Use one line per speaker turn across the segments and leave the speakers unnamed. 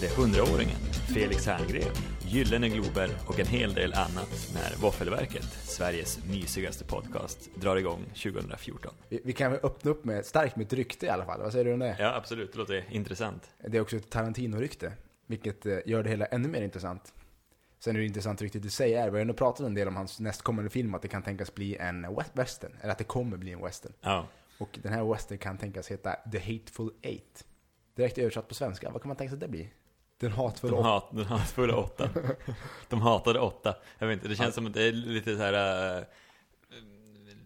Tonåringen, Felix Herngren, Gyllene Glober och en hel del annat när Våffelverket, Sveriges mysigaste podcast, drar igång 2014.
Vi, vi kan väl öppna upp med, starkt med ett rykte i alla fall. Vad säger du om det?
Ja, absolut, det låter intressant.
Det är också ett Tarantino-rykte, vilket eh, gör det hela ännu mer intressant. Sen är det intressant ryktet i sig är, vi har ändå pratat en del om hans nästkommande film, att det kan tänkas bli en west- western, eller att det kommer bli en western.
Ja,
Och den här western kan tänkas heta The Hateful Eight. Direkt översatt på svenska, vad kan man tänka sig att det blir? Den hatfulla
de,
åt-
hat, de hatfulla åtta. De hatade åtta. Jag vet inte, det känns som att det är lite så här... eh,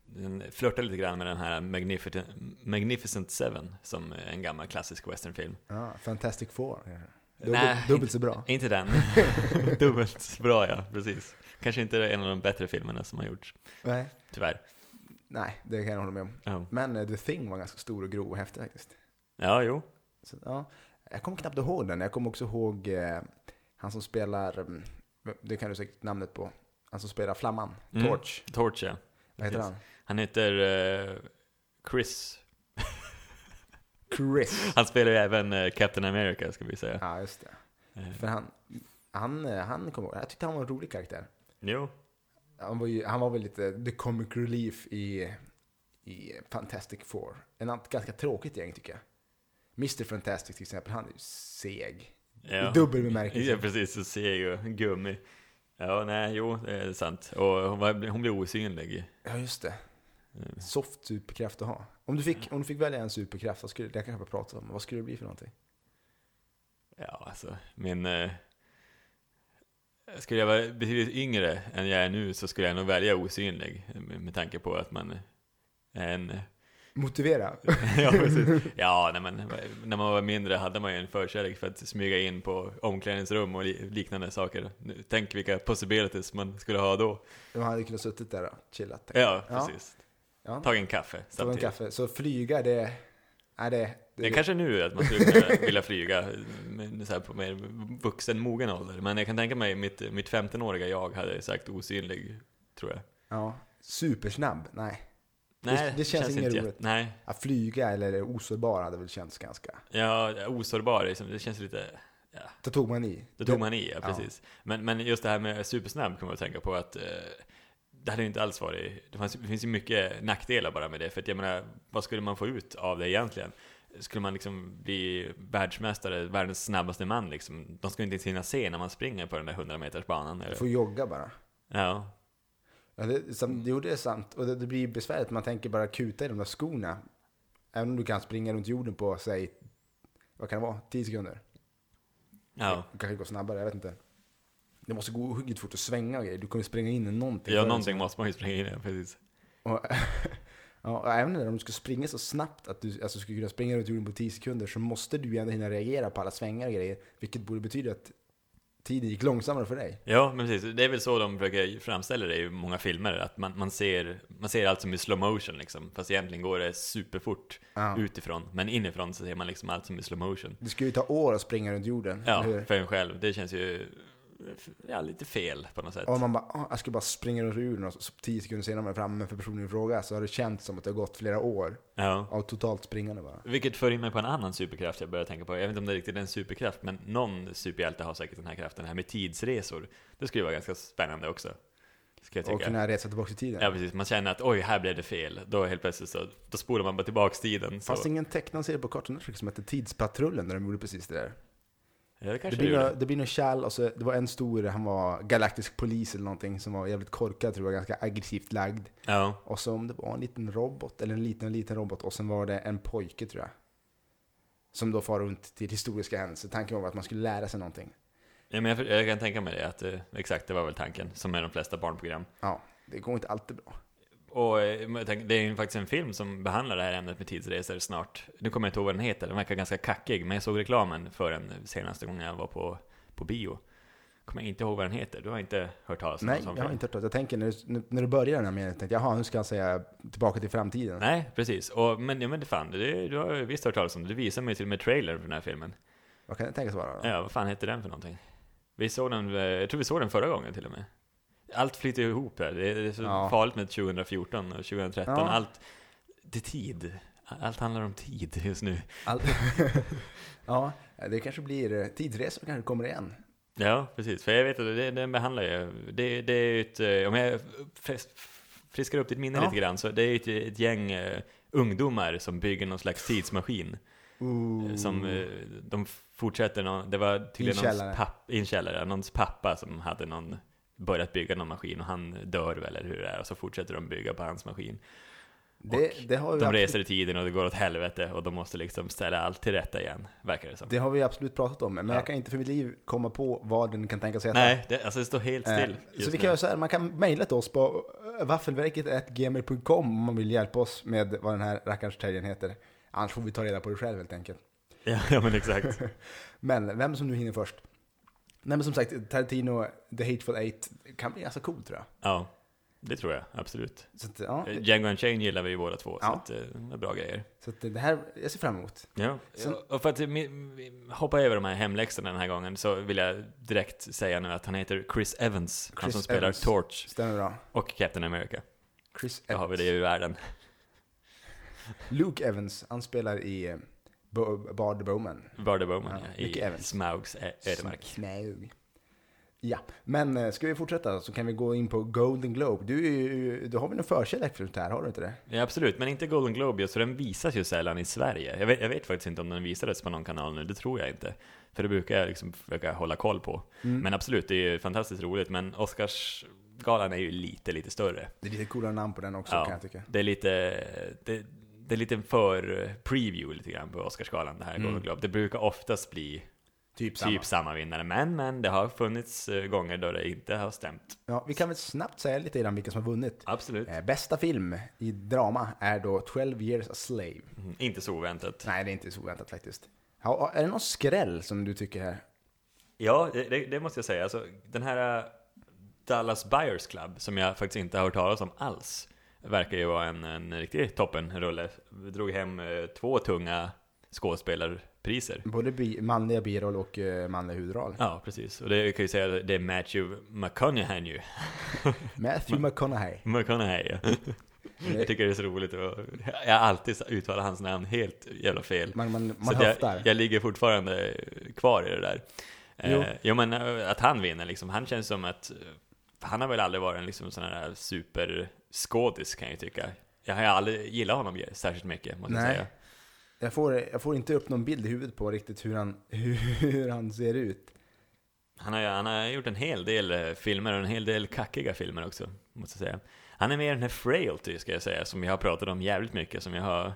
Den flörtar lite grann med den här Magnificent, Magnificent Seven, som är en gammal klassisk westernfilm.
ja, Fantastic Four. Dubbel,
Nej,
dubbelt så bra.
Inte den. Dubbelt bra ja, precis. Kanske inte en av de bättre filmerna som har gjorts,
Nej.
tyvärr.
Nej, det kan jag hålla med om.
Ja,
Men eh, The Thing var ganska stor och grov och häftig faktiskt.
ja jo.
Så, ja. Jag kommer knappt ihåg den. Jag kommer också ihåg eh, han som spelar, mm, det kan du säkert namnet på, han som spelar Flamman,
Mm.
Torch.
Torch ja.
Vad heter han?
Han heter eh, Chris.
Chris.
Han spelar ju även eh, Captain America, ska vi säga.
Ja, just det.
Eh,
För han, han, eh, han kom ihåg, jag tyckte han var en rolig karaktär.
jo,
Han var, ju, han var väl lite the comic relief i, i Fantastic Four. En annat ganska tråkigt gäng tycker jag. Mr Fantastic till exempel, han är ju seg.
ja.
I dubbel bemärkelse.
Ja, precis. Så ser jag ju gummi. Ja, nej, jo, det är sant. Och hon, var, hon blir osynlig.
Ja, just det.
Mm.
Soft superkraft att ha. Om du fick, om du fick välja en superkraft, vad skulle, det kanske jag prata om, men vad skulle det bli för någonting?
Ja, alltså, min... Eh, skulle jag vara betydligt yngre än jag är nu så skulle jag nog välja osynlig. Med, med tanke på att man är en...
Motivera.
ja, precis. Ja, när man, när man var mindre hade man ju en förkärlek för att smyga in på omklädningsrum och li- liknande saker. Nu, tänk vilka possibilities man skulle ha då.
De hade kunnat suttit där och chillat. tänk.
Ja,
Ja.
precis.
Ja.
Tagit en kaffe
Ta en
samtidigt.
kaffe. Så flyga, det... Nej, det...
Det är kanske nu att man skulle kunna vilja flyga men så här på mer vuxen, mogen ålder. Men jag kan tänka mig mitt, mitt 15-åriga jag hade sagt osynlig, tror jag.
Ja. Supersnabb? Nej. Det-
Nej,
det känns inget
inte
roligt.
jätte- Nej,
Att flyga eller osårbar hade väl känts ganska...
ja, jag är osårbar liksom. Det känns lite...
Då tog man i.
Då tog man i, ja,
Ja.
precis. Men, men just det här med supersnabb kommer jag att tänka på att eh, det hade ju inte alls varit... Det fanns, det finns ju mycket nackdelar bara med det. För att jag menar, vad skulle man få ut av det egentligen? Skulle man liksom bli världsmästare, världens snabbaste man liksom? De skulle inte ens hinna se när man springer på den där 100 meters banan.
Du
Eller?
får jogga bara.
Ja,
Ja, det, sam, jo, det är sant. Och det, det blir besvärligt. Man tänker bara kuta i de där skorna. Även om du kan springa runt jorden på, säg, vad kan det vara? 10 sekunder?
ja.
Det kanske går snabbare, jag vet inte. Det måste gå ohyggligt fort att svänga och grejer. Du kommer springa in i någonting.
ja någonting måste man ju springa in i, precis.
Och, ja, och även om du ska springa så snabbt att du alltså, skulle kunna springa runt jorden på 10 sekunder så måste du ju ändå hinna reagera på alla svängar och grejer. Vilket borde betyda att tiden gick långsammare för dig.
Ja, men precis. Det är väl så de försöker framställa det i många filmer, att man, man, ser, man ser allt som i slow motion liksom. Fast egentligen går det superfort
Ja.
utifrån, men inifrån så ser man liksom allt som i slow motion.
Mm. Det skulle ju ta år att springa runt jorden.
Ja,
eller hur?
för en själv. Det känns ju ja, lite fel på något sätt.
Och man bara, "Ah, jag ska bara springa runt jorden och så 10 sekunder senare är man framme för personen i fråga så har det känts som att det har gått flera år
Ja.
av totalt springande bara.
Vilket för in mig på en annan superkraft jag börjar tänka på. Jag vet inte om det är riktigt är en superkraft, men någon superhjälte har säkert den här kraften. Det här med tidsresor. Det skulle vara ganska spännande också. Ska jag
Och
tycka.
kunna resa tillbaka i tiden.
Ja, precis. Man känner att oj, här blev det fel. Då helt plötsligt så då spolar man bara tillbaks tiden. Så.
Fanns det ingen tecknad serie på Cartoon Network som hette Tidspatrullen där de gjorde precis det där?
Ja, det
Det
kanske det
blir,
gjorde.
några, det blir några kärl och så, det var en stor, han var galaktisk polis eller någonting som var jävligt korkad tror jag, ganska aggressivt lagd.
Ja.
Och så om det var en liten robot, eller en liten, liten robot, och sen var det en pojke tror jag. Som då far runt till historiska händelser. Tanken var att man skulle lära sig någonting.
ja, men jag, för- jag kan tänka mig det. Att, eh, exakt, det var väl tanken. Som med de flesta barnprogram.
Ja, det går inte alltid bra.
Och eh, men jag tänker, det är ju faktiskt en film som behandlar det här ämnet med tidsresor snart. Nu kommer jag inte ihåg vad den heter, den verkar ganska kackig, men jag såg reklamen för den senaste gången jag var på, på bio. Kommer jag inte ihåg vad den heter, du har inte hört talas om
Nej,
en sån
jag har
film?
inte hört det. Jag tänker när du, när du börjar den här meningen, tänkte jag, jaha, nu ska han säga tillbaka till framtiden.
Nej, precis. Och, men, ja, men det fan, det, du har ju visst hört talas om det. Du visade mig till och med trailern för den här filmen.
Vad kan det tänkas vara då?
Ja, vad fan heter den för någonting? Vi såg den, eh, jag tror vi såg den förra gången till och med. Allt flyter ihop här, det är, det är så
Ja.
farligt med 2014 och 2013,
Ja.
allt, det är tid. Allt handlar om tid just nu.
All... ja, det kanske blir eh, tidsresor kanske kommer igen.
Ja, precis. För jag vet att det, den behandlar ju... Det, det är ju ett... eh, Om jag fres- friskar upp ditt minne
Ja.
lite grann så det är ju ett, ett gäng eh, ungdomar som bygger någon slags tidsmaskin. eh, Som eh, de fortsätter... Någon, det var tydligen
I en källare.
någons pappa, i en källare, någons pappa som hade någon börjat bygga någon maskin och han dör väl eller hur det är och så fortsätter de bygga på hans maskin.
det, det, har vi
De
absolut,
reser liksom. i tiden och det går åt helvete och de måste liksom ställa allt till rätta igen, verkar det som.
det har vi absolut pratat om, men
Ja.
jag kan inte för mitt liv komma på vad den kan tänkas heta.
Nej, det, alltså det står helt
Eh,
still
Så
just
vi
nu.
kan göra så här, man kan mejla till oss på eh, waffelverket.gmail.com om man vill hjälpa oss med vad den här rackarns terriern heter. Annars får vi ta reda på det själv helt enkelt.
Ja, ja men exakt.
Men vem som nu hinner först. Nej men som sagt, Tarantino, The Hateful Eight, kan bli ganska cool tror jag.
Ja, det tror jag absolut.
Så, att, ja,
Eh, Django Unchained gillar vi ju båda två, så
Ja.
att, eh, det är bra grejer.
så att det här, jag ser fram emot.
Ja.
Sen-
Och för att eh, mi- hoppa över de här hemläxorna den här gången så vill jag direkt säga nu att han heter Chris Evans, han
Chris
som spelar
Evans.
Torch
Stämmer bra.
och Captain America.
Chris
Då
Evans.
har vi det i världen.
Luke Evans, han spelar i eh, Bo- Bard Bowman.
Vardy Bowman,
Ja,
ja,
Mickey
i
Evans.
Smaugs ä- ödemark.
Smug. Ja, men eh, ska vi fortsätta så kan vi gå in på Golden Globe. Du, är ju- du har väl en förkärlek för sånt här, har du inte det?
Ja, absolut, men inte Golden Globe just, för den visas ju sällan i Sverige. Jag vet, jag vet faktiskt inte om den visades på någon kanal nu, det tror jag inte. För det brukar jag liksom försöka hålla koll på.
Mm.
Men absolut, det är ju fantastiskt roligt, men Oscarsgalan är ju lite, lite större.
Det är lite coolare namn på den också
Ja.
kan jag tycka.
Det är lite, det, det är lite för preview lite grann på Oscarsgalan det här Golden Globe. Det brukar oftast bli
Mm. Typ samma.
typ samma vinnare, men, men det har funnits eh, gånger då det inte har stämt.
Ja, vi kan väl snabbt säga lite grann vilka som har vunnit.
Absolut.
Eh, Bästa film i drama är då 12 years a slave.
Mm, Inte så oväntat.
Nej, det är inte så oväntat faktiskt. Ja, är det någon skräll som du tycker här?
Ja, det- det, det måste jag säga. Alltså, den här eh, Dallas Buyers Club, som jag faktiskt inte har hört talas om alls, verkar ju vara en, en riktig toppenrulle. Vi drog hem eh, två tunga skådespelarpriser.
Både bi- manliga biroll och eh, manliga huvudroll.
Ja, precis. Och det jag kan ju säga att det är Matthew McConaughey nu.
Matthew McConaughey.
McConaughey, ja. Jag tycker det är så roligt att jag har alltid uttalar hans namn helt jävla fel.
Man, man,
Så
man
att
höftar.
jag, jag ligger fortfarande kvar i det där.
Jo.
Jo. Eh, jag menar att han vinner liksom, han känns som att eh, han har väl aldrig varit en liksom, sån här superskådis kan jag ju tycka. Jag har ju aldrig gillat honom särskilt mycket, måste
Nej.
jag säga.
Jag får, jag får inte upp någon bild i huvudet på riktigt hur han, hur han ser ut.
Han har, ju- han har gjort en hel del eh, filmer och en hel del kackiga filmer också, måste jag säga. Han är mer den här frailty, ska jag säga, som jag har pratat om jävligt mycket, som jag har eh,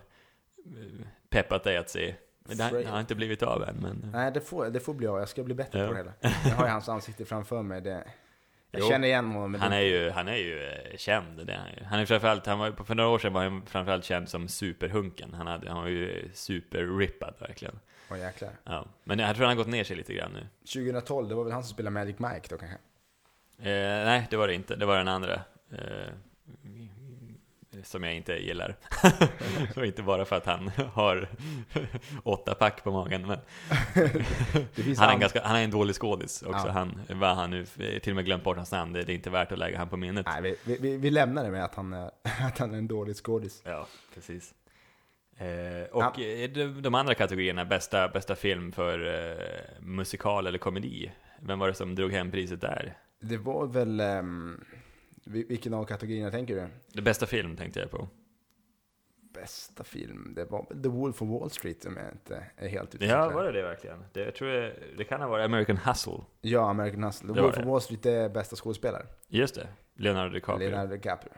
peppat dig att se. Men det har,
Frail.
har inte blivit av än, men... eh,
Nej, det får, det får bli jag. Jag ska bli bättre
Ja.
på det hela. Jag har ju hans ansikte framför mig. Det, jag
Jo.
känner igen honom. men
Han
det-
är ju, han är ju eh, känd, det är han ju. Han är framförallt, han var, ju- för några år sedan var han framförallt känd som superhunken. Han, hade, han var ju superrippad verkligen.
Åh, jäklar.
Ja. Men jag tror han har gått ner sig lite grann nu.
2012, det var väl han som spelade Magic Mike då kanske?
Eh, nej, det var det inte. Det var den andra. Eh, som jag inte gillar. Och inte bara för att han har åtta pack på magen. Men
Det finns
han, är en
an-
ganska, han är en dålig skådis också.
Ja.
Han, vad han nu, eh, till och med glömt bort hans namn. Det, det är inte värt att lägga han på minnet.
Nej, vi, vi- vi, vi lämnar det med att han, är- att han är en dålig skådis.
Ja, precis. Eh, och
Ja.
eh, de, de andra kategorierna, bästa, bästa film för eh, musikal eller komedi, vem var det som drog hem priset där?
Det var väl... ehm, vi- vilken av kategorierna tänker du?
Det bästa film tänkte jag på.
Bästa film? Det var väl The Wolf of Wall Street om jag inte är helt ute och
Ja,
cyklar.
var det det verkligen? Det, jag tror det, det kan ha varit American Hustle.
Ja, American Hustle.
Det
The
var
Wolf of
det.
Wall Street är bästa skådespelare.
Just det, Leonardo DiCaprio.
Leonardo DiCaprio.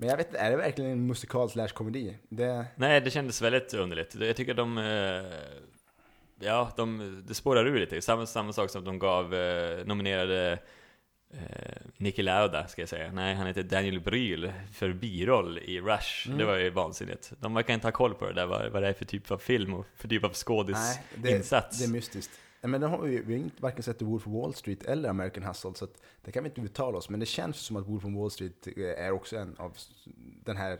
Men jag vet inte, är det verkligen en musikal slash komedi? Det,
Nej, det kändes väldigt underligt. Det- Jag tycker de... Eh, ja, de, det spårar ur lite. Samma, samma sak som de gav eh, nominerade eh, Niki Lauda, ska jag säga. Nej, han heter Daniel Bryl för biroll i Rush.
Mm.
Det var ju vansinnigt. De verkar inte ha koll på det där, vad, vad det är för typ av film och för typ av skådis
nej, det,
insats.
det är mystiskt. Nej, Men då har vi, vi har inte varken sett The Wolf of Wall Street eller American Hustle, så att, det kan vi inte uttala oss. Men det känns som att Wolf of Wall Street eh, är också en av s- den här,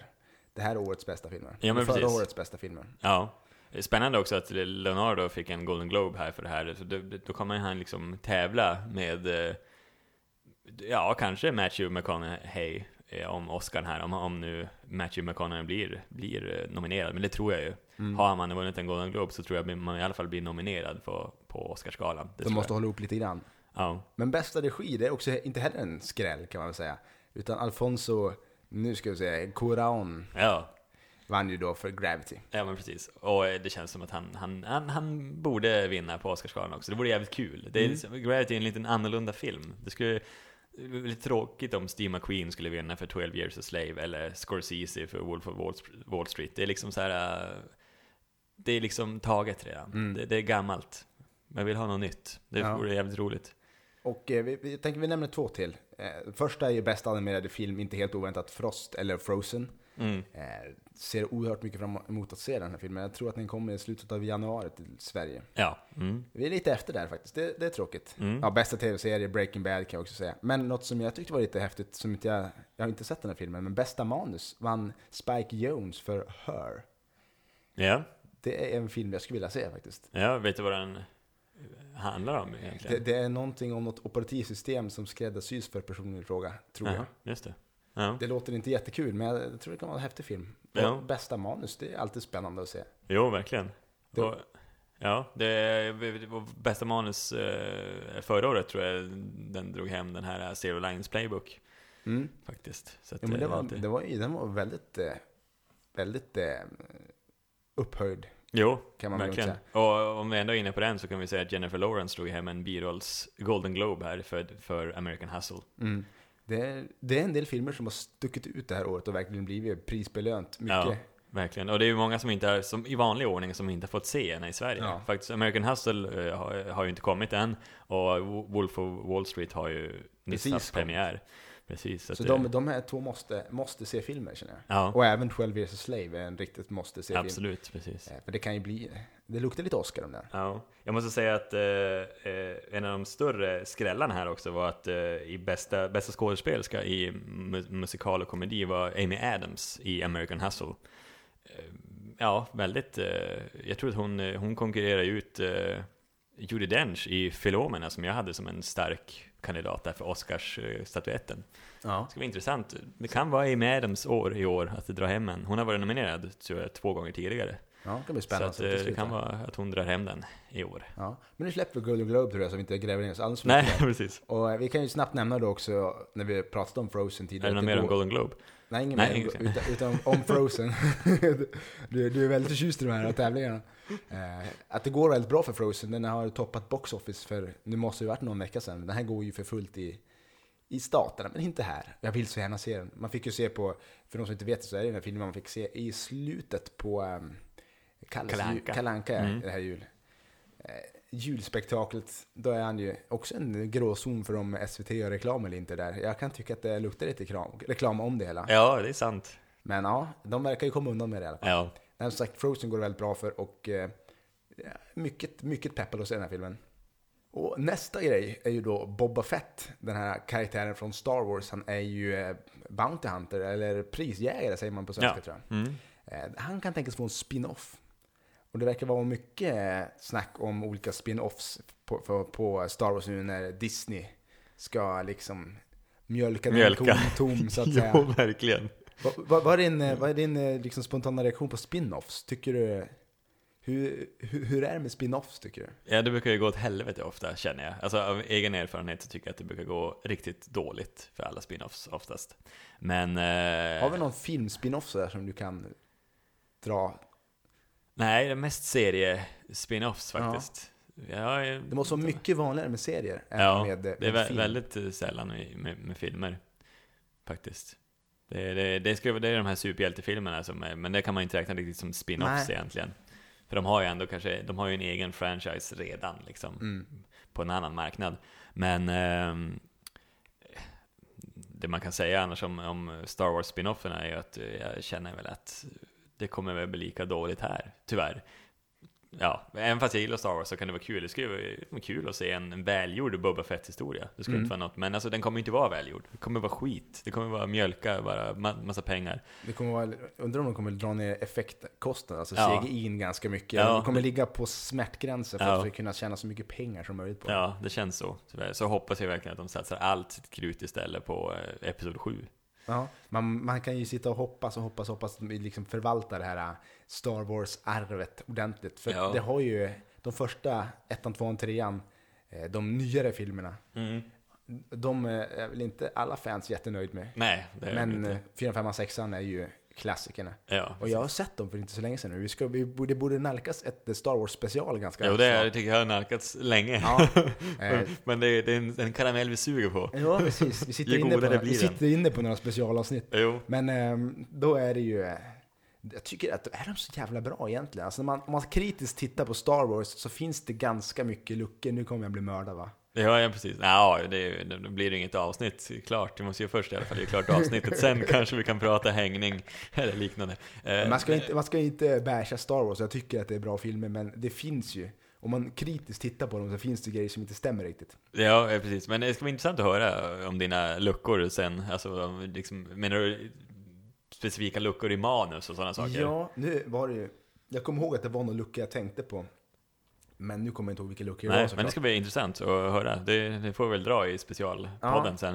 det här årets bästa filmer.
Ja, men
Förra
precis.
årets bästa filmer.
Ja. Spännande också att Leonardo fick en Golden Globe här för det här. Så då, då kommer han liksom tävla med, eh, ja kanske Matthew McConaughey eh, om Oscar här, om, om nu Matthew McConaughey blir, blir eh, nominerad, men det tror jag ju.
Mm.
Har man vunnit en Golden Globe så tror jag man i alla fall blir nominerad på, på Oscarsgalan. Det
De
tror
måste
jag.
hålla upp lite grann.
Ja.
Men bästa regi, det är också inte heller en skräll kan man väl säga. Utan Alfonso, nu ska vi säga, Cuarón
ja,
vann ju då för Gravity.
ja men precis. Och eh, det känns som att han, han, han, han borde vinna på Oscarsgalan också. Det vore jävligt kul.
Mm.
Det är, liksom- Gravity är en liten annorlunda film. Det skulle det vore lite tråkigt om Steve McQueen skulle vinna för 12 years a slave eller Scorsese för Wolf of Wall, Wall Street. Det är liksom så här. eh, Det är liksom taget redan.
Mm.
Det, det är gammalt. Men jag vill ha något nytt. Det
Ja.
vore jävligt roligt.
Och eh, vi, vi, jag tänker vi nämner två till. Eh, första är ju bästa animerade film, inte helt oväntat, Frost eller Frozen.
Mm.
Eh, ser oerhört mycket fram emot att se den här filmen. Jag tror att den kommer i slutet av januari till Sverige.
Ja. Mm.
Vi är lite efter där faktiskt, det, det är tråkigt.
Mm.
Ja, bästa tv-serie, Breaking Bad kan jag också säga. Men något som jag tyckte var lite häftigt, som inte jag, jag har inte sett den här filmen, men bästa manus vann Spike Jones för Her.
ja.
Det är en film jag skulle vilja se faktiskt.
Ja, vet du vad den handlar om egentligen?
Det, det är någonting om något operativsystem som skräddarsys för personen i fråga, tror jag.
Ja, just det. Ja.
Det låter inte jättekul, men jag tror det kan vara en häftig film.
Ja.
Och bästa manus, det är alltid spännande att se.
Jo, verkligen.
Det-
Och, ja, det, det var bästa manus eh, förra året tror jag den drog hem den här eh, Zero Lines Playbook
Mm.
faktiskt. Så att,
Ja, men det
eh,
var,
alltid-
det var, ju- den var väldigt, eh, väldigt eh, upphöjd,
Jo,
kan man väl
verkligen.
säga.
Och om vi ändå är inne på den så kan vi säga att Jennifer Lawrence drog hem en birolls Golden Globe här för, för American Hustle.
Mm. Det, är, det är en del filmer som har stuckit ut det här året och verkligen blivit prisbelönt mycket.
Ja, verkligen. Och det är ju många som inte har, som i vanlig ordning, som inte har fått se henne i Sverige.
Ja.
Faktiskt, American Hustle eh, har, har ju inte kommit än. Och Wolf of Wall Street har ju nyss
Precis
haft
kommit.
premiär. Precis.
Så
att,
de,
eh,
de här två måste, måste se filmer känner jag.
Ja,
Och även 12 Years a Slave är en riktigt måste se film.
absolut. Precis.
Eh, För det kan ju bli, det luktar lite Oscar om den.
Ja. Jag måste säga att eh, eh, en av de större skrällarna här också var att eh, i bästa, bästa skådespelerska i mu- musikal och komedi var Amy Adams i American Hustle. Eh, ja, väldigt. Eh, jag tror att hon, eh, hon konkurrerar ut eh, Judi Dench i Filomena som jag hade som en stark kandidat där för Oscarsstatuetten.
Ja.
Det ska bli intressant. Det kan vara Amy Adams år i år att dra hem en. Hon har varit nominerad tror jag, två gånger tidigare.
ja, det kan bli
Så
spännande.
att,
att se till
eh, det
slut
kan
här.
vara att hon drar hem den i år.
ja. Men nu släpper vi Golden Globe tror jag, så vi inte gräver ner oss alls för
Nej,
mycket.
precis.
Och eh, vi kan ju snabbt nämna då också, när vi pratade om Frozen
Är
tidigare.
det något
att det
mer om
går-
Golden Globe?
Nej, ingen
Nej,
mer.
inget mer.
Utan, utan om Frozen. du, du är väldigt förtjust i de här tävlingarna. Eh, att det går väldigt bra för Frozen. Den har toppat Box Office för, nu måste det ju varit någon vecka sedan. Den här går ju för fullt i, i staterna, men inte här. Jag vill så gärna se den. Man fick ju se på, för de som inte vet så är det den här filmen man fick se i slutet på um,
Kalle
Kalles,
Anka.
Kalanka
Mm.
det här jul. Eh, julspektaklet, då är han ju också en gråzon för om SVT gör reklam eller inte där. Jag kan tycka att det luktar lite kram, reklam om det hela.
Ja, det är sant.
Men ja, de verkar ju komma undan med det i alla fall.
Ja,
Men som sagt, Frozen går det väldigt bra för och eh, ja, mycket, mycket peppad att se den här filmen. Och nästa grej är ju då Boba Fett, den här karaktären från Star Wars. Han är ju eh, Bounty Hunter, eller prisjägare säger man på svenska
Ja.
tror jag.
mm.
Eh, Han kan tänkas få en spin-off. Och det verkar vara mycket eh, snack om olika spin-offs på, på, på Star Wars nu när Disney ska liksom mjölka,
Mjölka.
den kon tom så att säga.
jo, verkligen.
Vad, vad, vad är din, eh, vad är din eh, liksom, spontana reaktion på spin-offs? Tycker du... Hur, hur, hur är det med spin-offs tycker du?
Ja, det brukar ju gå åt helvete ofta, känner jag. Alltså av egen erfarenhet så tycker jag att det brukar gå riktigt dåligt för alla spin-offs oftast. Men... Eh,
Har vi någon film-spin-off sådär som du kan dra?
Nej, det är mest serie-spin-offs faktiskt. Ja. Jag,
Det måste vara mycket vanligare med serier än
Ja,
med, eh,
det är
med
vä-
film.
väldigt eh, sällan i- med, med filmer, faktiskt. Det, det, det, ska, det är de här superhjältefilmerna, som är, men det kan man ju inte räkna riktigt som spin-offs
Nej.
egentligen. För de har ju ändå kanske, de har ju en egen franchise redan liksom,
Mm.
på en annan marknad. Men ehm, det man kan säga annars om, om Star Wars spin-offerna är ju att eh, jag känner väl att det kommer väl bli lika dåligt här, tyvärr. Ja, även fast jag gillar Star Wars så kan det vara kul. Det skulle ju vara kul att se en, en välgjord Boba Fett-historia. Det skulle
Mm.
inte vara något, men alltså den kommer inte vara välgjord. Det kommer vara skit. Det kommer vara mjölka, bara ma- massa pengar.
Det kommer vara, undrar om de kommer dra ner effektkostnaden, alltså
Ja.
CGI in ganska mycket.
Ja.
De kommer ligga på smärtgränsen för
Ja.
att vi ska kunna tjäna så mycket pengar som möjligt på det.
Ja, det känns så. Tyvärr. Så hoppas jag verkligen att de satsar allt sitt krut istället på eh, Episod 7.
Ja, man, man kan ju sitta och hoppas och hoppas och hoppas att vi liksom förvalta det här Star Wars-arvet ordentligt. För
Ja.
det har ju de första, ettan, tvåan, trean, eh, de nyare filmerna,
Mm.
de eh, är väl inte alla fans jättenöjd med.
Nej, det är det
Men
inte.
eh, fyran, femman, sexan är ju klassikerna.
Ja,
Och jag har sett dem för inte så länge sedan nu. Vi, ska, vi borde, borde nalkas ett äh, Star Wars-special ganska
Jo, det är,
snart.
jag tycker jag har nalkats länge.
Ja, eh,
Men det är, det är en, en karamell vi suger på.
ja, precis. Vi sitter,
Ju
inne på,
godare
några-
blir
vi
den.
sitter inne på några specialavsnitt.
Jo.
Men ehm, då är det ju... eh, Jag tycker att är de så jävla bra egentligen? Alltså när man, om man kritiskt tittar på Star Wars så finns det ganska mycket luckor. Nu kommer jag bli mördad va?
Ja, ja precis. Ja, det, är ju- då blir det inget avsnitt klart. Det måste ju först i alla fall, det är klart avsnittet. Sen kanske vi kan prata hängning eller liknande. Eh,
Man ska ju inte, man ska ju inte basha Star Wars. Jag tycker att det är bra filmer men det finns ju. Om man kritiskt tittar på dem så finns det grejer som inte stämmer riktigt.
Ja, eh, precis. Men det ska bli intressant att höra om dina luckor sen. Alltså, om liksom, menar du specifika luckor i manus och sådana saker?
Ja, nu var det ju... Jag kommer ihåg att det var någon lucka jag tänkte på. Men nu kommer jag inte ihåg vilka luckor det var
Nej, men det
såklart.
ska bli intressant att höra. Det, det får vi väl dra i specialpodden sen.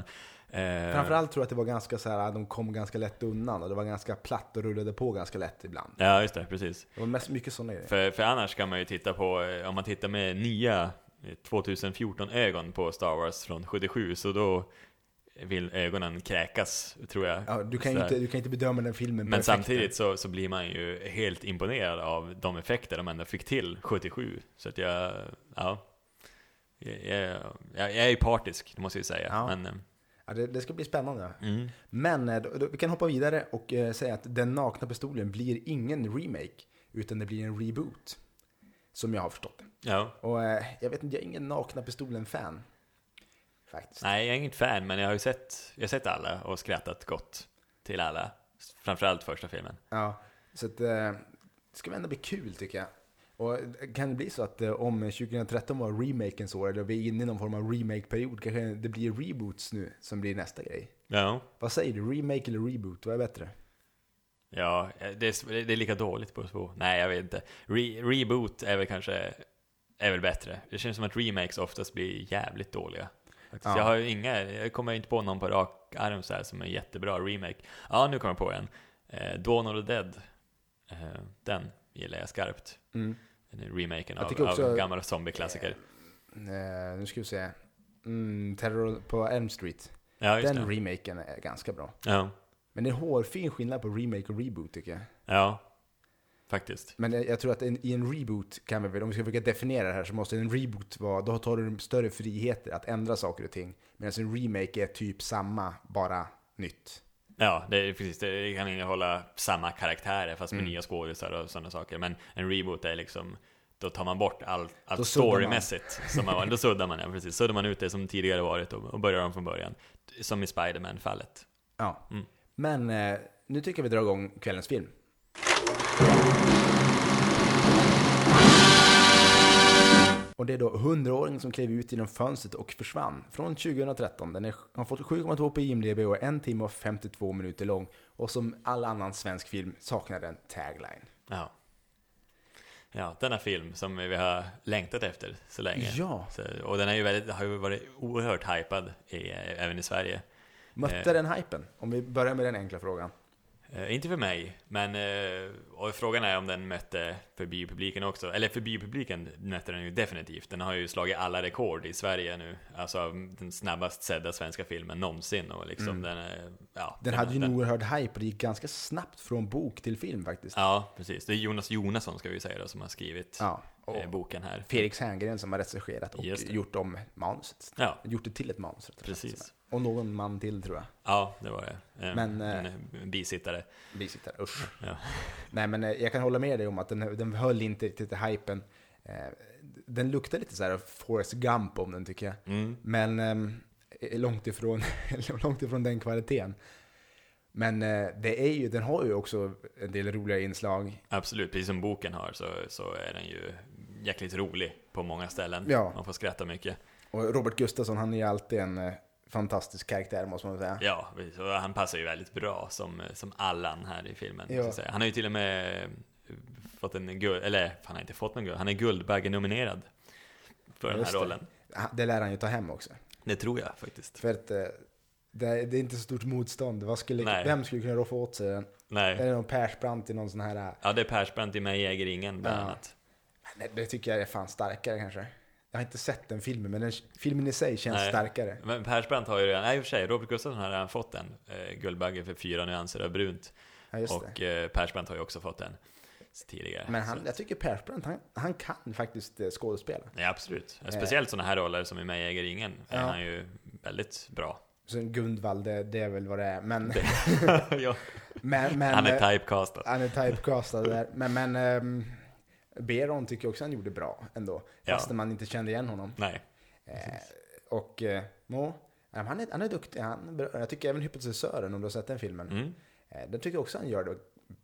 Eh,
Framförallt tror jag att det var ganska så här, de kom ganska lätt undan och det var ganska platt och rullade på ganska lätt ibland.
Ja, just det, precis.
Det var mest mycket sådana grejer.
För, för annars kan man ju titta på, eh, om man tittar med nya 2014-ögon på Star Wars från 77, så då vill ögonen kräkas, tror jag.
Ja, du, kan
Så
ju
här.
inte, du kan inte bedöma den filmen på
Men
effekten.
samtidigt så, så blir man ju helt imponerad av de effekter de ändå fick till 77. Så att jag, ja. Jag, jag, jag jag är ju partisk, det måste jag ju säga.
Ja.
Men, eh,
Ja, det, det ska bli spännande.
mm.
Men eh, då, då, vi kan hoppa vidare och eh, säga att Den nakna pistolen blir ingen remake, utan det blir en reboot. Som jag har förstått det.
ja.
Och eh, jag vet inte, jag är ingen nakna pistolen-fan. Faktiskt.
Nej, jag är inget fan, men jag har ju sett, jag har sett alla och skrattat gott till alla. Framförallt första filmen.
Ja, så att, eh, det ska väl ändå bli kul tycker jag. Och eh, kan det bli så att eh, om 2013 var remakens år, eller vi är inne i någon form av remake-period, kanske det blir reboots nu som blir nästa grej.
Ja.
Vad säger du? Remake eller reboot? Vad är bättre?
Ja, eh, det är, det är lika dåligt på två. Nej, jag vet inte. Re, reboot är väl kanske är väl bättre. Det känns som att remakes oftast blir jävligt dåliga. Faktiskt.
Ja.
Jag har ju inga, jag kommer inte på någon på rak arm så här som är jättebra remake. Ja, nu kommer jag på en. Eh, Dawn of the Dead. Eh, den gillar jag skarpt.
Mm.
Den är Remaken
Jag
av,
tycker också-
av gamla zombieklassiker.
Eh, nu ska vi se. Mm, Terror på Elm Street.
Ja, just
Den
det.
remaken är ganska bra.
Ja,
Men det är hårfin skillnad på remake och reboot tycker jag.
ja, faktiskt.
Men jag, jag tror att en, i en reboot kan vi väl, om vi ska försöka definiera det här så måste en reboot vara, då tar du större friheter att ändra saker och ting. Medan en remake är typ samma, bara nytt.
Ja, det, är precis. Det kan innehålla samma karaktärer fast med
Mm.
nya skådisar och sådana saker. Men en reboot är liksom, då tar man bort allt,
Då
allt
suddar man.
storymässigt. Som man, då suddar man, ja, precis. Suddar man ut det som tidigare varit och, och börjar om från början. Som i Spiderman-fallet.
Ja.
Mm.
Men eh, nu tycker jag vi drar igång kvällens film. Och det är då 100-åringen som klev ut genom fönstret och försvann från 2013. Den är, har fått 7,2 på IMDB och är 1 timme och 52 minuter lång. Och som all annan svensk film saknar den tagline.
Ja. Ja, denna film som vi har längtat efter så länge.
Ja,
Så, och den är ju väldigt, har ju varit oerhört hypad i, även i Sverige.
mötte
Eh.
den hypen? Om vi börjar med den enkla frågan.
Eh, inte för mig, men eh, och frågan är om den mötte för biopubliken också. Eller för biopubliken mötte den ju definitivt. Den har ju slagit alla rekord i Sverige nu. Alltså av den snabbast sedda svenska filmen någonsin. Och liksom den, eh, ja,
Mm. Den hade ju en oerhörd hype och det gick ganska snabbt från bok till film faktiskt.
Ja, precis. Det är Jonas Jonasson ska vi säga då, som har skrivit
Ja. Och
eh, boken här.
Felix Herngren som har recenserat och
Just det.
gjort om manuset.
Ja,
Gjort det till ett manus. rättare sagt.
precis.
Och någon man till tror jag.
Ja, det var det. Eh,
Men, eh,
en, eh, bisittare.
Bisittare, usch.
Ja.
Nej men eh, jag kan hålla med dig om att den, den höll inte riktigt i hypen. Eh, Den luktar lite så här Forrest Gump om den tycker jag.
Mm.
Men ehm, är långt ifrån, långt ifrån den kvaliteten. Men eh, det är ju, den har ju också en del roliga inslag.
Absolut, precis som boken har så, så är den ju jäkligt rolig på många ställen.
Ja.
Man får skratta mycket.
Och Robert Gustafsson han är ju alltid en eh, fantastisk karaktär måste man säga.
Ja, precis. Och han passar ju väldigt bra som, som Allan här i filmen.
Ja.
måste jag säga. Han har ju till och med eh, fått en guld, eller han har inte fått någon guld, han är Guldbagge-nominerad för den
Just
här
det.
rollen.
Det lär han ju ta hem också.
Det tror jag faktiskt.
För att eh, Det, det är inte så stort motstånd. Vad skulle,
Nej.
vem skulle kunna roffa åt sig den? Är
Nej.
det någon Persbrandt i någon sån här... äh,
Ja, det är Persbrandt i mig äger ingen bland
Ja.
annat.
Nej, det tycker jag är fan starkare kanske. Jag har inte sett den filmen, men den, filmen i sig känns
Nej.
starkare.
Men Persbrandt har ju redan, nej i och för sig, Robert Gustafsson har redan fått den. Eh, Guldbagge för fyra nyanser av brunt.
Ja, just det.
Och eh, Persbrandt har ju också fått den tidigare.
Men han,
Så-
jag tycker Persbrandt, han, han kan faktiskt eh, skådespela.
Ja, absolut.
Eh.
Speciellt sådana här roller som i mig äger ingen är han ju väldigt bra.
Sen Gundvald, det, det är väl vad det är. Men,
ja.
men, men,
Han är
eh,
typecastad.
han är typecastad där. Men, men ehm, Beron tycker jag också han gjorde bra ändå.
Ja.
Fastän man inte kände igen honom.
Nej.
Eh, och eh, nå, nej, men han, är, han är duktig. Han, är bra. jag tycker även Hypnotisören, om du har sett den filmen.
Mm.
Eh, den tycker jag också han gör det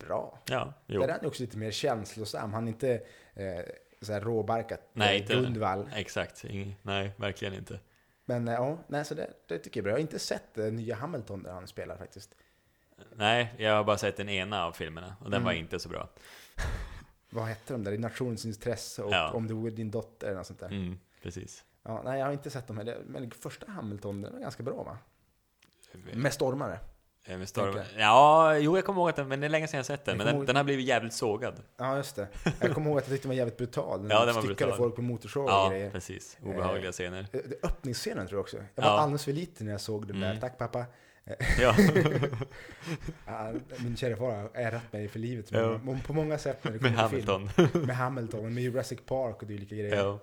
bra.
Ja, jo.
Där är han ju också lite mer känslosam. Han är inte eh, så här råbarkat.
Nej,
eh,
inte-
Gundvall.
Exakt. Ingen, nej, verkligen inte.
Men eh, ja, nej, så det, det tycker jag är bra. Jag har inte sett eh, nya Hamilton där han spelar faktiskt.
Nej, jag har bara sett den ena av filmerna och den
Mm.
var inte så bra.
Vad hette de där? I nationens intresse och
Ja.
Om du vore din dotter eller något sånt där.
Mm, precis.
Ja, nej, jag har inte sett dem heller. Men första Hamilton, den var ganska bra va? Med stormare.
Eh, Med storm...
Tänker
Ja, jo jag kommer ihåg att den, men det är länge sedan jag sett den.
Jag
Men
kommer
den,
ihåg-
den har blivit jävligt sågad.
Ja, just det. Jag kommer ihåg att jag tyckte den var jävligt brutal. Den
Ja, den var
styckade
brutal.
folk på motorsågar och
Ja,
grejer.
precis. Obehagliga scener.
Eh, det- Öppningsscenen tror jag också. Jag var
Ja.
alldeles för liten när jag såg den där.
Mm.
Tack pappa.
Ja,
Ah, Min kära far har ärrat mig för livet.
Ja.
Men på många sätt när det
med
kommer till film.
Hamilton.
Med Hamilton. Med Jurassic Park och dylika grejer. Ja.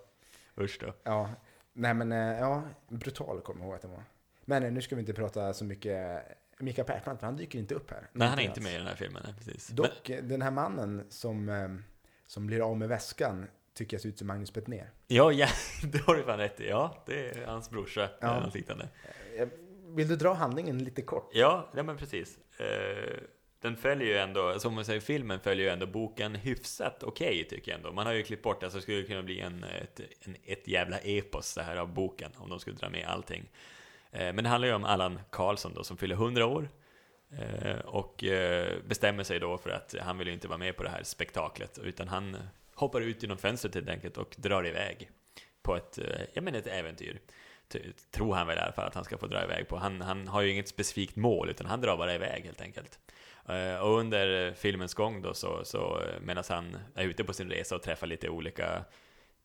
Ja. Usch då.
Nej men, eh, ja. Brutal kommer jag ihåg att den var. Men eh, nu ska vi inte prata så mycket Mika Persbrandt, för han dyker inte upp här.
Nej, han är inte
alls.
med i den här filmen. nej, Precis. Men,
Dock, eh, den här mannen som, eh, som blir av med väskan tycker jag ser ut som Magnus Betnér.
ja, ja, det har du fan rätt i. Ja, det är hans brorsa.
Ja.
Eller något liknande.
Eh, Vill du dra handlingen lite kort?
Ja, ja men precis. Eh, Den följer ju ändå, som man säger, filmen följer ju ändå boken hyfsat okej tycker jag ändå. Man har ju klippt bort det, så det skulle kunna bli en, ett, en, ett jävla epos det här av boken, om de skulle dra med allting. Eh, Men det handlar ju om Allan Karlsson då, som fyller 100 år. eh, Och eh, bestämmer sig då för att han vill ju inte vara med på det här spektaklet, utan han hoppar ut genom fönstret helt enkelt och drar iväg på ett, eh, jag menar ett äventyr t- tror han väl i alla fall att han ska få dra iväg på. Han, han har ju inget specifikt mål, utan han drar bara iväg helt enkelt. Eh, Och under eh, filmens gång då, så, så eh, medan han är ute på sin resa och träffar lite olika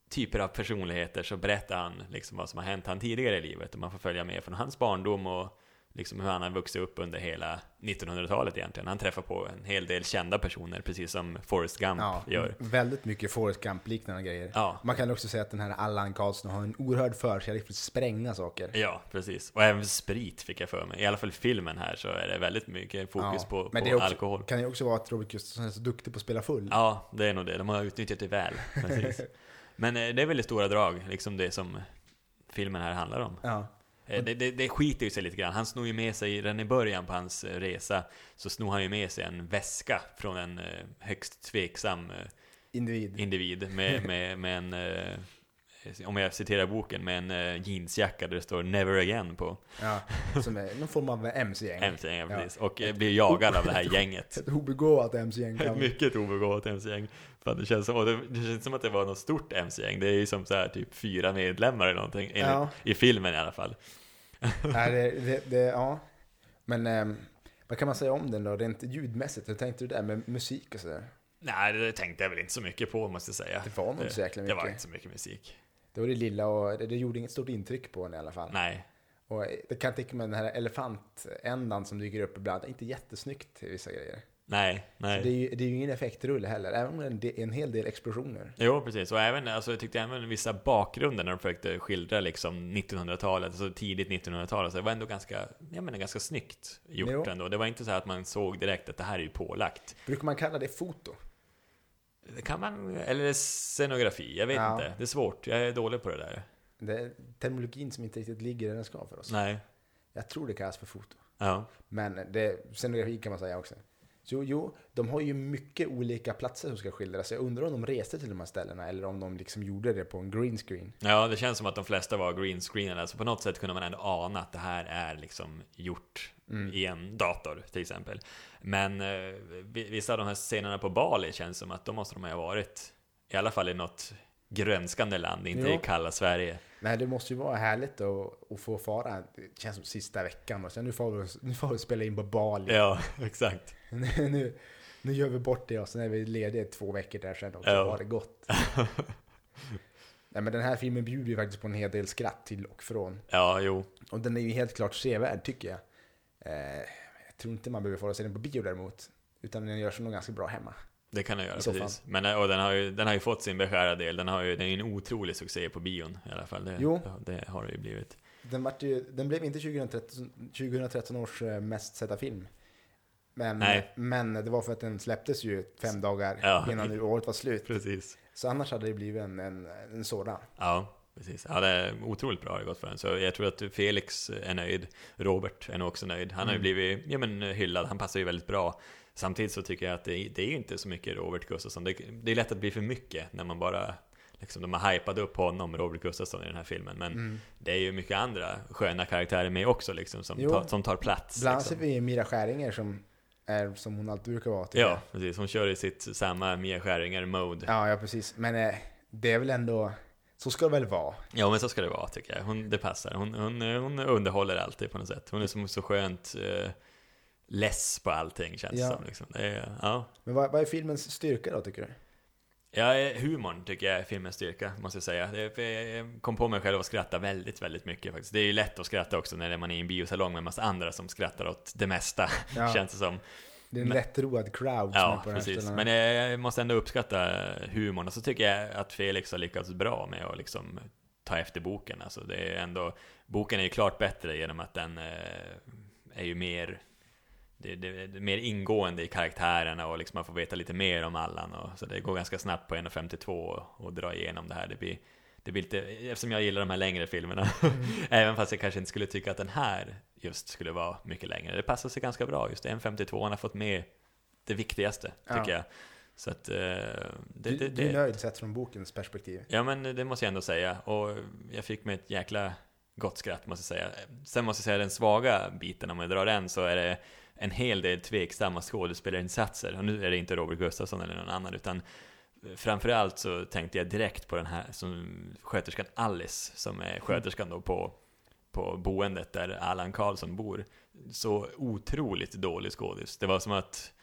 typer av personligheter, så berättar han liksom vad som har hänt han tidigare i livet. Och man får följa med från hans barndom och liksom hur han har vuxit upp under hela 1900-talet egentligen. Han träffar på en hel del kända personer, precis som Forrest Gump gör.
väldigt mycket Forrest Gump-liknande grejer.
Ja.
Man kan också säga att den här Allan Karlsson har en oerhörd förkärlek för att spränga saker.
Ja, precis. Och även sprit fick jag för mig. I alla fall filmen här så är det väldigt mycket fokus
Ja,
på, på
men det är också,
alkohol.
kan ju också vara att Robert Gustafsson är så duktig på att spela full.
Ja, det är nog det. De har utnyttjat det väl. Precis. Men eh, det är väldigt stora drag, liksom det som filmen här handlar om.
Ja.
Eh, Det, det, det skiter ju sig lite grann. Han snor ju med sig, redan i början på hans eh, resa, så snor han ju med sig en väska från en eh, högst tveksam eh,
Individ.
individ med, med, med en, eh, om jag citerar boken, med en eh, jeansjacka där det står 'Never again' på.
Ja. Som är någon form av MC-gäng.
MC-gänget, precis. Och eh, blir jagad av det här gänget.
Ett obegåvat MC-gäng.
Ett
kan-
mycket obegåvat MC-gäng. Fan, det, känns som, och det, det känns inte som att det var något stort MC-gäng. Det är ju som så här, typ fyra medlemmar eller någonting. Enligt,
Ja.
I filmen i alla fall.
Nej, det, det, det, ja. Men ehm, vad kan man säga om den då? Rent ljudmässigt, hur tänkte du där med musik och sådär?
Nej, det tänkte jag väl inte så mycket på måste jag säga.
Det var nog inte så jäkla
Det var
mycket.
inte så mycket musik.
Det var det lilla och det, det gjorde inget stort intryck på en i alla fall.
Nej.
Och eh, det kan jag tänka mig den här elefantändan som dyker upp ibland, inte jättesnyggt i vissa grejer.
Nej, nej.
Det är, ju, det är ju ingen effektrulle heller, även om det är en del- en hel del explosioner.
Jo, precis. Och även, alltså, jag tyckte även vissa bakgrunder när de försökte skildra liksom 1900-talet, alltså tidigt 1900-tal, så det var ändå ganska, jag menar, ganska snyggt gjort
Jo.
ändå. Det var inte så här att man såg direkt att det här är ju pålagt.
Brukar man kalla det foto?
Det kan man, eller scenografi, jag vet
Ja.
inte. Det är svårt, jag är dålig på det där.
Det är terminologin som inte riktigt ligger där den ska för oss.
Nej.
Jag tror det kallas för foto.
Ja.
Men det, scenografi kan man säga också. Jo, jo, de har ju mycket olika platser som ska skildras. Jag undrar om de reste till de här ställena eller om de liksom gjorde det på en green screen.
ja, det känns som att de flesta var greenscreenade, så på något sätt kunde man ändå ana att det här är liksom gjort i en dator till exempel. Men eh, vi- vissa av de här scenerna på Bali känns som att de måste de ha varit, i alla fall i något grönskande land, inte
Ja.
i kalla Sverige.
Nej, det måste ju vara härligt att, att få fara. Det känns som sista veckan och sen nu får vi, nu får vi spela in på Bali.
Ja, exakt.
nu, nu gör vi bort det och sen är vi lediga två veckor där sen också.
Ja.
Har det gott. Nej, men den här filmen bjuder ju faktiskt på en hel del skratt till och från.
Ja, jo.
Och den är ju helt klart sevärd tycker jag. Eh, jag tror inte man behöver få se den på bio däremot. Utan den görs nog ganska bra hemma.
Det kan den göra,
I så fall.
precis. Men eh, och den, har ju, den har ju fått sin beskärda del. Den, har ju, den är ju en otrolig succé på bion i alla fall. Det,
Jo.
det har det ju blivit.
Den, vart ju, den blev inte 2013, 2013 års eh, mest sedda film. Men,
Nej.
men det var för att den släpptes ju fem dagar
Ja.
innan nu året var slut.
Precis.
Så annars hade det blivit en, en, en sådan.
Ja, precis. Ja, det är otroligt bra har det gått för den. Så jag tror att Felix är nöjd. Robert är nog också nöjd. Han har ju
Mm.
blivit ja, men, hyllad. Han passar ju väldigt bra. Samtidigt så tycker jag att det, det är ju inte så mycket Robert Gustafsson. Det, det är lätt att bli för mycket när man bara Liksom de har hypat upp honom, Robert Gustafsson, i den här filmen. Men
Mm.
det är ju mycket andra sköna karaktärer med också, liksom, som,
Jo.
tar, som tar plats.
Bland annat
liksom.
ser vi Mira Skäringer som är som hon alltid brukar vara. typ. tycker jag.
Ja, precis. Hon kör i sitt samma Mia Skäringer-mode. Ja.
eh, ja, ja precis. Men eh, det är väl ändå, så ska det väl vara.
men så ska det vara tycker jag. Hon, det passar. Hon, hon, hon underhåller alltid på något sätt. Hon är som så skönt eh, less på allting känns det
Ja.
som. Liksom. Det är, ja.
Men vad, vad är filmens styrka då tycker du?
Ja, eh, humorn tycker jag är filmens styrka, måste jag säga. Det, för jag jag kom på mig själv att skratta väldigt, väldigt mycket faktiskt. Det är ju lätt att skratta också när man är i en biosalong med en massa andra som skrattar åt det mesta,
Ja.
känns det som.
Det är en
Men-
lättroad crowd som
Ja,
är på den här
precis.
ställen.
Men eh, jag måste ändå uppskatta humorn. Och så tycker jag att Felix har lyckats bra med att liksom ta efter boken. Alltså det är ändå, boken är ju klart bättre genom att den eh, är ju mer, det, det, det är mer ingående i karaktärerna och liksom man får veta lite mer om Allan. Och, så det går ganska snabbt på 1.52 och, och dra igenom det här. Det blir, det blir lite, eftersom jag gillar de här längre filmerna,
Mm.
även fast jag kanske inte skulle tycka att den här just skulle vara mycket längre. Det passar sig ganska bra just, 1.52 han har fått med det viktigaste,
Ja.
tycker jag. Så att... eh, det,
du,
det,
du är
det,
nöjd sett från bokens perspektiv.
ja, men det måste jag ändå säga. Och jag fick mig ett jäkla gott skratt, måste jag säga. Sen måste jag säga den svaga biten, om jag drar den, så är det en hel del tveksamma skådespelarinsatser. Och nu är det inte Robert Gustafsson eller någon annan, utan framförallt så tänkte jag direkt på den här som sköterskan Alice, som är sköterskan då på på boendet där Allan Karlsson bor. Så otroligt dålig skådis. Det var som att,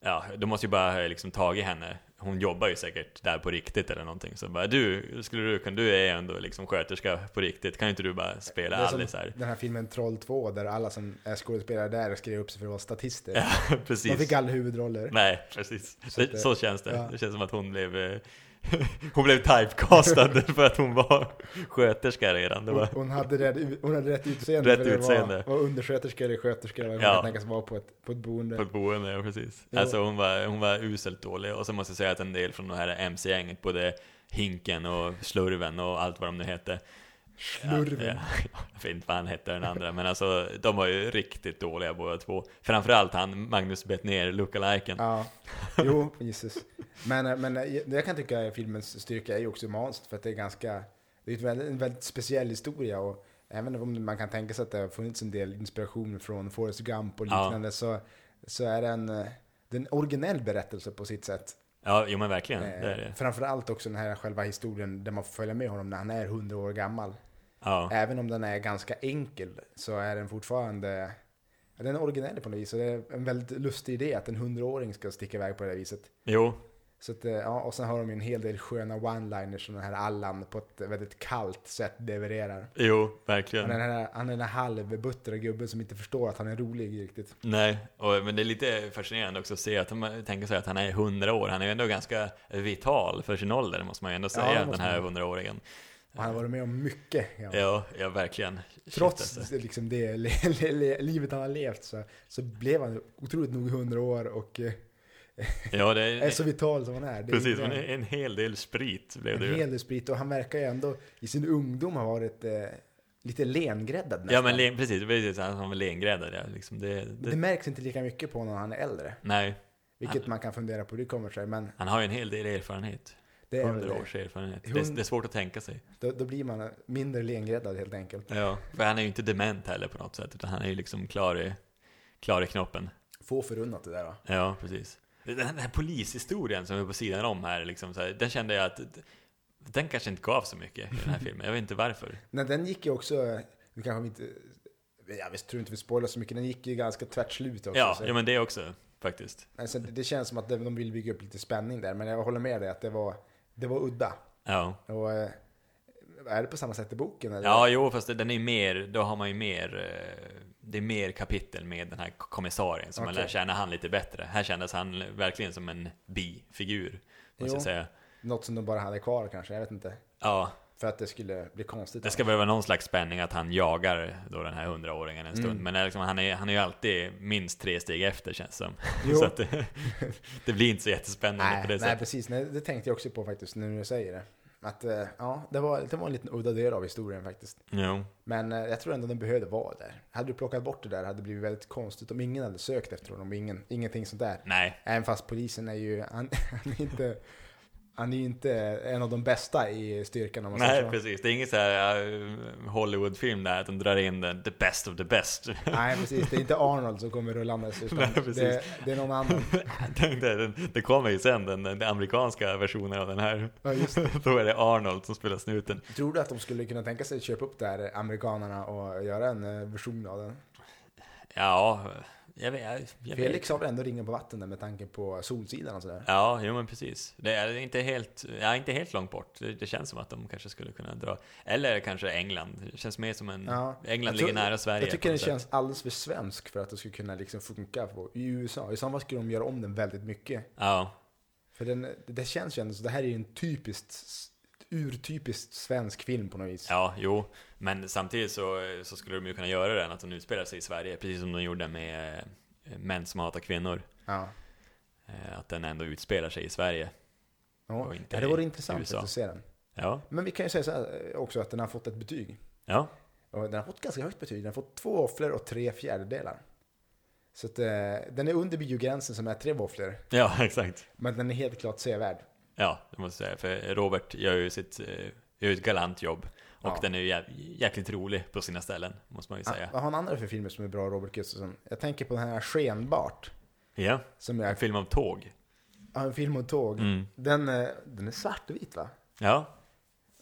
ja, de måste ju bara ha liksom tagit henne. Hon jobbar ju säkert där på riktigt eller någonting. Så bara, du, skulle du, kan du är ändå liksom sköterska på riktigt, kan inte du bara spela
Det är som
Alice här?
den här filmen Troll 2 där alla som är skådespelare där skrev upp sig för att vara statister.
Ja,
De
precis.
fick alla huvudroller.
Nej, precis.
Så att
Det,
det-
så känns det.
ja.
Det känns som att hon blev, eh, hon blev typecastad för att hon var sköterska redan. Det
Hon,
var,
hon, hade rätt, hon hade rätt utseende.
Rätt
för det
utseende.
Var, var undersköterska eller sköterska eller vad
Ja.
hon kan tänkas vara på ett, på ett boende.
På ett boende, ja precis.
Jo.
Alltså hon var, hon var uselt dålig. Och så måste jag säga att en del från det här MC-gänget, både Hinken och Slurven och allt vad de nu hette.
Slurven.
Ja, ja, jag vet inte vad han hette den andra, men alltså de var ju riktigt dåliga båda två. Framförallt han, Magnus Bettner, lookaliken.
Ja, jo, Jesus. Men, eh, men eh, jag kan tycka att filmens styrka är ju också manskt för att det är ganska, det är ett väldigt, en väldigt speciell historia och även om man kan tänka sig att det har funnits en del inspiration från Forrest Gump och
Ja.
liknande så, så är det en, eh, det är en originell berättelse på sitt sätt.
Ja, jo men verkligen.
Eh,
Det är det.
Framförallt också den här själva historien där man får följa med honom när han är 100 år gammal.
Ja.
Även om den är ganska enkel så är den fortfarande den är originell på något vis och det är en väldigt lustig idé att en hundraåring ska sticka iväg på det här viset.
Jo,
Så att, eh, ja, och sen har de ju en hel del sköna one-liners som den här Allan på ett väldigt kallt sätt levererar.
jo,
Han är
verkligen.
den här, han är den här halvbuttra gubben som inte förstår att han är rolig riktigt.
Nej, och, men det är lite fascinerande också att se att man tänker sig att han är 100 år. Han är ju ändå ganska vital för sin ålder, måste man ju ändå säga,
det måste
den här
man.
100-åringen.
Och han har varit med om mycket. Ja.
Ja, ja verkligen. Shit,
Trots
alltså.
liksom det le, le, le, livet han har levt så, så blev han otroligt nog 100 år och eh,
Ja, det
är
är,
så vital som han är. Det är
precis.
inte-
Men en hel del sprit blev
en
det ju.
hel del sprit och han verkar ju ändå i sin ungdom ha varit eh, lite lengräddad
Ja,
nästan.
men len, precis. precis han har väl lengräddad, ja. Liksom det, det,
Det märks inte lika mycket på när han är äldre.
Nej,
Vilket man kan fundera på hur det kommer sig. Men
han har ju en hel del erfarenhet.
det är väl
Hundra
det.
års erfarenhet. Det,
Hund-
det är svårt att tänka sig.
Då, då blir man mindre lengräddad helt enkelt.
Ja. För han är ju inte dement heller på något sätt, utan han är ju liksom klar i, klar i knoppen.
Få förunnat det där va?
Ja, precis. Den här polishistorien som är på sidan om här, liksom, så här den kände jag att Den kanske inte gav så mycket i den här filmen. Jag vet inte varför.
Nej, den gick ju också, vi kanske inte, jag visst, tror inte vi spoilar så mycket, den gick ju ganska tvärt slut också.
Ja,
så-
ja men det också faktiskt.
alltså, det det känns som att de vill bygga upp lite spänning där, men jag håller med dig att det var, det var udda.
Ja.
Och, eh, är det på samma sätt i boken? Eller?
Ja, jo, fast det- den är ju mer, då har man ju mer, eh, det är mer kapitel med den här k- kommissarien som man
Okej.
lär känna han lite bättre. Här kändes han verkligen som en bifigur, måste
Jo.
jag säga.
Något som de bara hade kvar kanske, jag vet inte.
Ja,
För att det skulle bli konstigt.
det ska väl vara någon slags spänning att han jagar då den här hundraåringen en stund.
Mm.
Men det är liksom, han, är, han är ju alltid minst tre steg efter känns det som.
Jo.
Så att det, det blir inte så jättespännande
nej,
på det
nej,
sättet.
precis. Nej, det tänkte jag också på faktiskt, nu när du säger det. Att, eh, ja, det var, det var en liten udda del av historien faktiskt.
Jo.
Men eh, jag tror ändå den behövde vara där. Hade du plockat bort det där hade det blivit väldigt konstigt om ingen hade sökt efter honom. Ingen, ingenting sånt där.
Nej,
Även fast polisen är ju, han, han är inte, han är ju inte en av de bästa i styrkan om man
nej
säger så.
precis. Det är ingen så här eh, Hollywoodfilm där att de drar in den, the best of the best.
Nej, precis. Det är inte Arnold som kommer rullandes, utan
Nej, precis.
det, det är någon annan.
Tänkte, jag, den, det kommer ju sen, den, den amerikanska versionen av den här.
Ja, just
Då är det Arnold som spelar snuten.
Tror du att de skulle kunna tänka sig att köpa upp det här eh, amerikanerna och göra en eh, version av den?
Ja, jag vet. Jag, jag vet.
Felix har väl ändå ringen på vatten där med tanke på Solsidan och sådär.
Ja, jo men precis. Det är inte helt, ja, inte helt långt bort. Det, det känns som att de kanske skulle kunna dra. Eller kanske England. Det känns mer som en...
Ja.
Mm. England
Jag tror-
ligger nära Sverige.
Jag tycker
på
den
något sätt.
känns alldeles för svensk för att det skulle kunna liksom funka på, i USA. I så fall skulle de göra om den väldigt mycket.
Ja,
För den, det känns ju ändå så, det här är ju en typiskt, s- urtypiskt svensk film på något vis.
ja, jo. Men samtidigt så, så skulle de ju kunna göra den, att de utspelar sig i Sverige. Precis som de gjorde med eh, Män som hatar kvinnor.
Ja.
Eh, Att den ändå utspelar sig i Sverige.
Ja.
Och inte
ja det vore
i
intressant
USA.
att se den.
Ja,
Men vi kan ju säga så här eh, också att den har fått ett betyg.
ja.
Och den har fått ganska högt betyg. Den har fått två våfflor och tre fjärdedelar. Så att, eh, den är under biogränsen som är tre våfflor.
Ja, exakt.
Men den är helt klart sevärd.
Ja, det måste jag säga. För Robert gör ju sitt, eh, gör ett galant jobb. Och
Ja.
den är ju jä- jäkligt rolig på sina ställen, måste man ju
Ah,
säga.
Vad har han andra för filmer som är bra, Robert Gustafsson? Jag tänker på den här Skenbart.
Ja,
Som
en
jag,
film om tåg.
ja, en film om tåg.
Mm.
Den, eh, den är svartvit va?
Ja,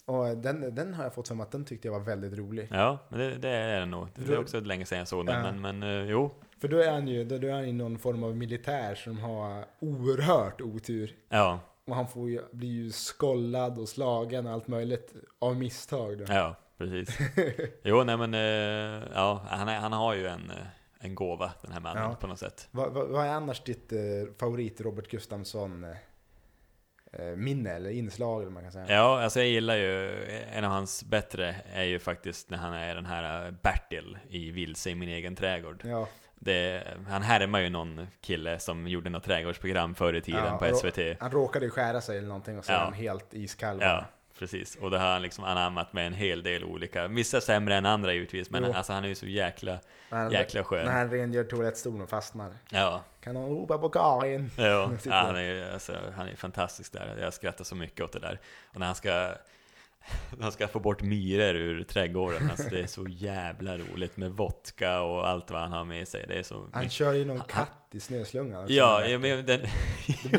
Och eh, den, den har jag fått för mig att den tyckte jag var väldigt rolig.
ja, men det, det är den nog. Det
Då-
är också länge sedan jag såg den,
Ja.
men, men eh, jo.
För då är han ju då då är han ju någon form av militär som har oerhört otur.
Ja,
Och han får ju, blir ju skollad och slagen och allt möjligt av misstag. Då.
ja, precis. Jo, nej men, eh, ja, han, är, han har ju en, eh, en gåva, den här mannen,
Ja.
på något sätt.
Vad, vad, vad är annars ditt eh, favorit Robert Gustafsson eh, eh, minne eller inslag eller man kan säga?
Ja, alltså jag gillar ju, en av hans bättre är ju faktiskt när han är den här eh, Bertil i Vilse i min egen trädgård.
Ja,
det, han härmar ju någon kille som gjorde något trädgårdsprogram förr i tiden
Ja,
på
och-
SVT.
han råkade ju skära sig eller någonting och så
Ja.
är han helt iskall.
Ja, precis. Och det har han liksom anammat med en hel del olika, vissa sämre än andra givetvis, men
Jo.
alltså han är ju så jäkla,
När han-
jäkla skön.
När han rengör toalettstolen och fastnar.
Ja,
Kan hon ropa på Karin?
ja.
Jag
ja
tycker-
han, är, ju- alltså, han är fantastisk där. Jag skrattar så mycket åt det där. Och när han ska, när han ska få bort myror ur trädgården, alltså det är så jävla roligt med vodka och allt vad han har med sig. Det är så...
Han kör ju någon
Han-
katt i snöslungan. också.
Ja, ja, men den...
Det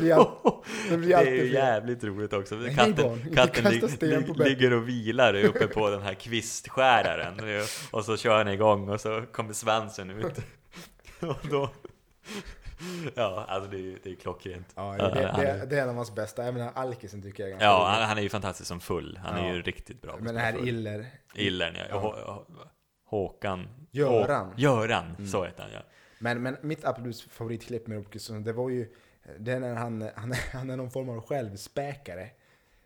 blir all- det blir alltid
det är ju
fel.
jävligt roligt också.
Nej, barn,
Katten,
inte
katten
kasta
lig,
sten på
lig,
bäcken.
ligger och vilar uppe på den här kvistskäraren. Det är- Och så kör han igång och så kommer svansen ut. Och då... Ja, alltså det är ju det är ju klockrent.
Ja, det, det,
han,
det, det är en av hans bästa. Även den här alkisen tycker jag är ganska
ja
rolig.
han, han är ju fantastisk som full. Han är
Ja.
ju riktigt bra. på
Men
att
den här
spela full.
Iller.
Illern, ja.
Ja.
Hå- Hå- Håkan.
Göran.
Hå-
Mm.
Göran, så heter han ja.
Men, men mitt absolut favoritklipp med Robert Gustafsson, det var ju det är när han, han, han är någon form av självspäkare.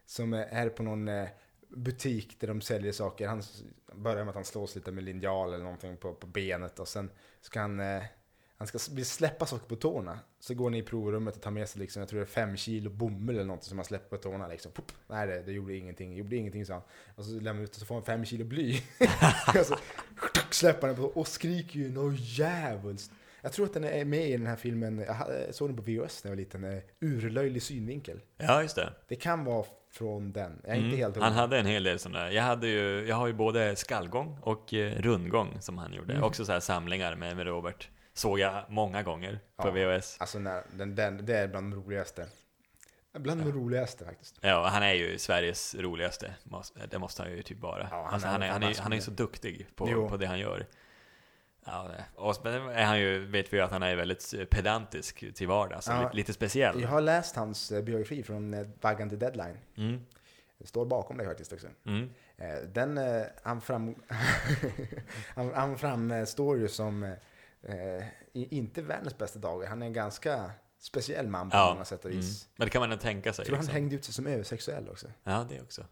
Som är på någon eh, butik där de säljer saker. Han s- börjar med att han slås lite med linjal eller någonting på, på benet och sen ska han, eh, han ska s- vill släppa saker på tårna. Så går han i provrummet och tar med sig liksom, jag tror det är fem kilo bomull eller något som han släpper på tårna liksom. Pop! Nej, det, det gjorde ingenting, gjorde ingenting sa han. Och så lämnar han ut och så får han fem kilo bly. och så släpper han på och skriker ju något djävulskt. Jag tror att den är med i den här filmen, jag hade- såg den på VHS när jag var liten, eh, Urlöjlig synvinkel.
Ja, just det.
Det kan vara från den. Jag är inte
Mm,
helt
han hade en hel del sådana där. Jag, hade ju, jag har ju både skallgång och eh, rundgång som han
Mm.
gjorde. Också så här samlingar med, med Robert. Såg jag många gånger på
Ja.
VHS.
Alltså när, den, den, det är bland de roligaste. Bland de roligaste faktiskt.
Ja, han är ju Sveriges roligaste. Måste- Det måste han ju typ vara.
Ja, han
alltså,
är
han, är, han, är,
massor
han är ju
med.
så duktig
Jo.
på, på det han gör. Ja, det. Och sen är han ju, vet vi ju att han är väldigt eh, pedantisk till vardags.
Ja.
Ja. Lite speciell.
Jag har läst hans eh, biografi från eh, Vaggan till Deadline.
Mm,
Det står bakom dig faktiskt också.
mm,
Eh, Den, eh, han, fram, han, han framstår ju som eh, i- inte världens bästa dag. Han är en ganska speciell man på
Ja, Mm.
många sätt och vis.
Men det kan man ändå tänka sig.
Jag tror han
liksom.
hängde ut sig som översexuell också.
Ja, det också.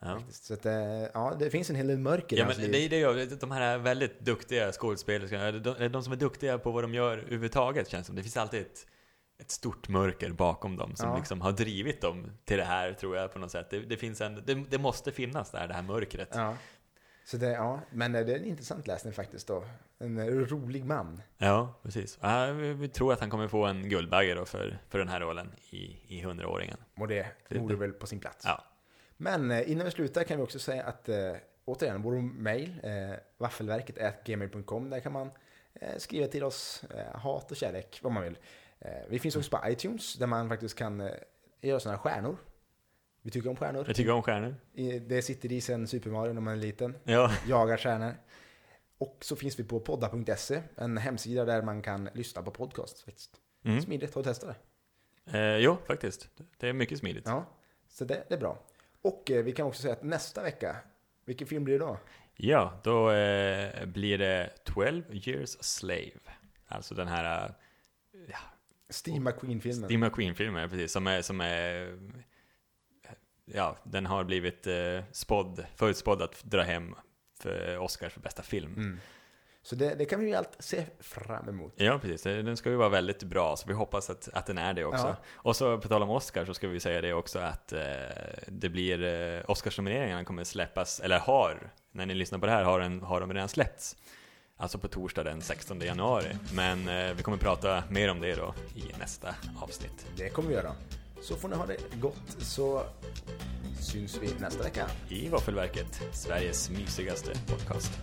Ja.
Faktiskt. Så att, eh, ja, det finns en hel del mörker i
Ja,
hans
men
liv.
det är det jag, vet, de här väldigt duktiga skådespelerskorna, eller de, eller de som är duktiga på vad de gör överhuvudtaget känns som. Det finns alltid ett, ett stort mörker bakom dem som
Ja.
liksom har drivit dem till det här tror jag på något sätt. Det, det, finns en, det, det måste finnas där, det här mörkret. Ja,
Ja. Så det, ja, men eh, det är en intressant läsning faktiskt. Då. En eh, rolig man.
precis. Ja, vi, vi tror att han kommer få en Guldbagge då för, för den här rollen i, i 100-åringen.
Och det
Det-
vore väl på sin plats.
Ja.
Men eh, innan vi slutar kan vi också säga att eh, återigen, vår mail, eh, waffelverket.gmail.com, där kan man eh, skriva till oss eh, hat och kärlek, vad man vill. Eh, vi finns också på iTunes där man faktiskt kan eh, göra sådana här stjärnor. Vi tycker om stjärnor.
Jag tycker om stjärnor.
I- Det sitter i sen Super Mario när man är liten.
Ja,
Jagar stjärnor. Och så finns vi på podda.se, en hemsida där man kan lyssna på podcast. Faktiskt.
mm.
Smidigt, har du testat det?
eh, jo, faktiskt. Det är mycket smidigt.
Ja, så det, det är bra. Och eh, vi kan också säga att nästa vecka, vilken film blir det då?
Ja, då eh, blir det 12 years a slave. Alltså den här eh,
Steve McQueen-filmen.
Steve McQueen-filmen, precis. Som är, som är... Ja, den har blivit eh, spådd, förutspådd att dra hem för Oscars för bästa film.
Mm. Så det, det kan vi ju allt se fram emot.
Ja, precis. Den ska ju vara väldigt bra, så vi hoppas att, att den är det också.
Ja.
Och så på tal om Oscar så ska vi säga det också att eh, det blir eh, Oscarsnomineringarna kommer släppas, eller har, när ni lyssnar på det här har, den, har de redan släppts. Alltså på torsdag den 16 januari. Men eh, vi kommer prata mer om det då i nästa avsnitt.
Det kommer vi göra. Så får ni ha det gott så syns vi nästa vecka.
I Våffelverket, Sveriges mysigaste podcast.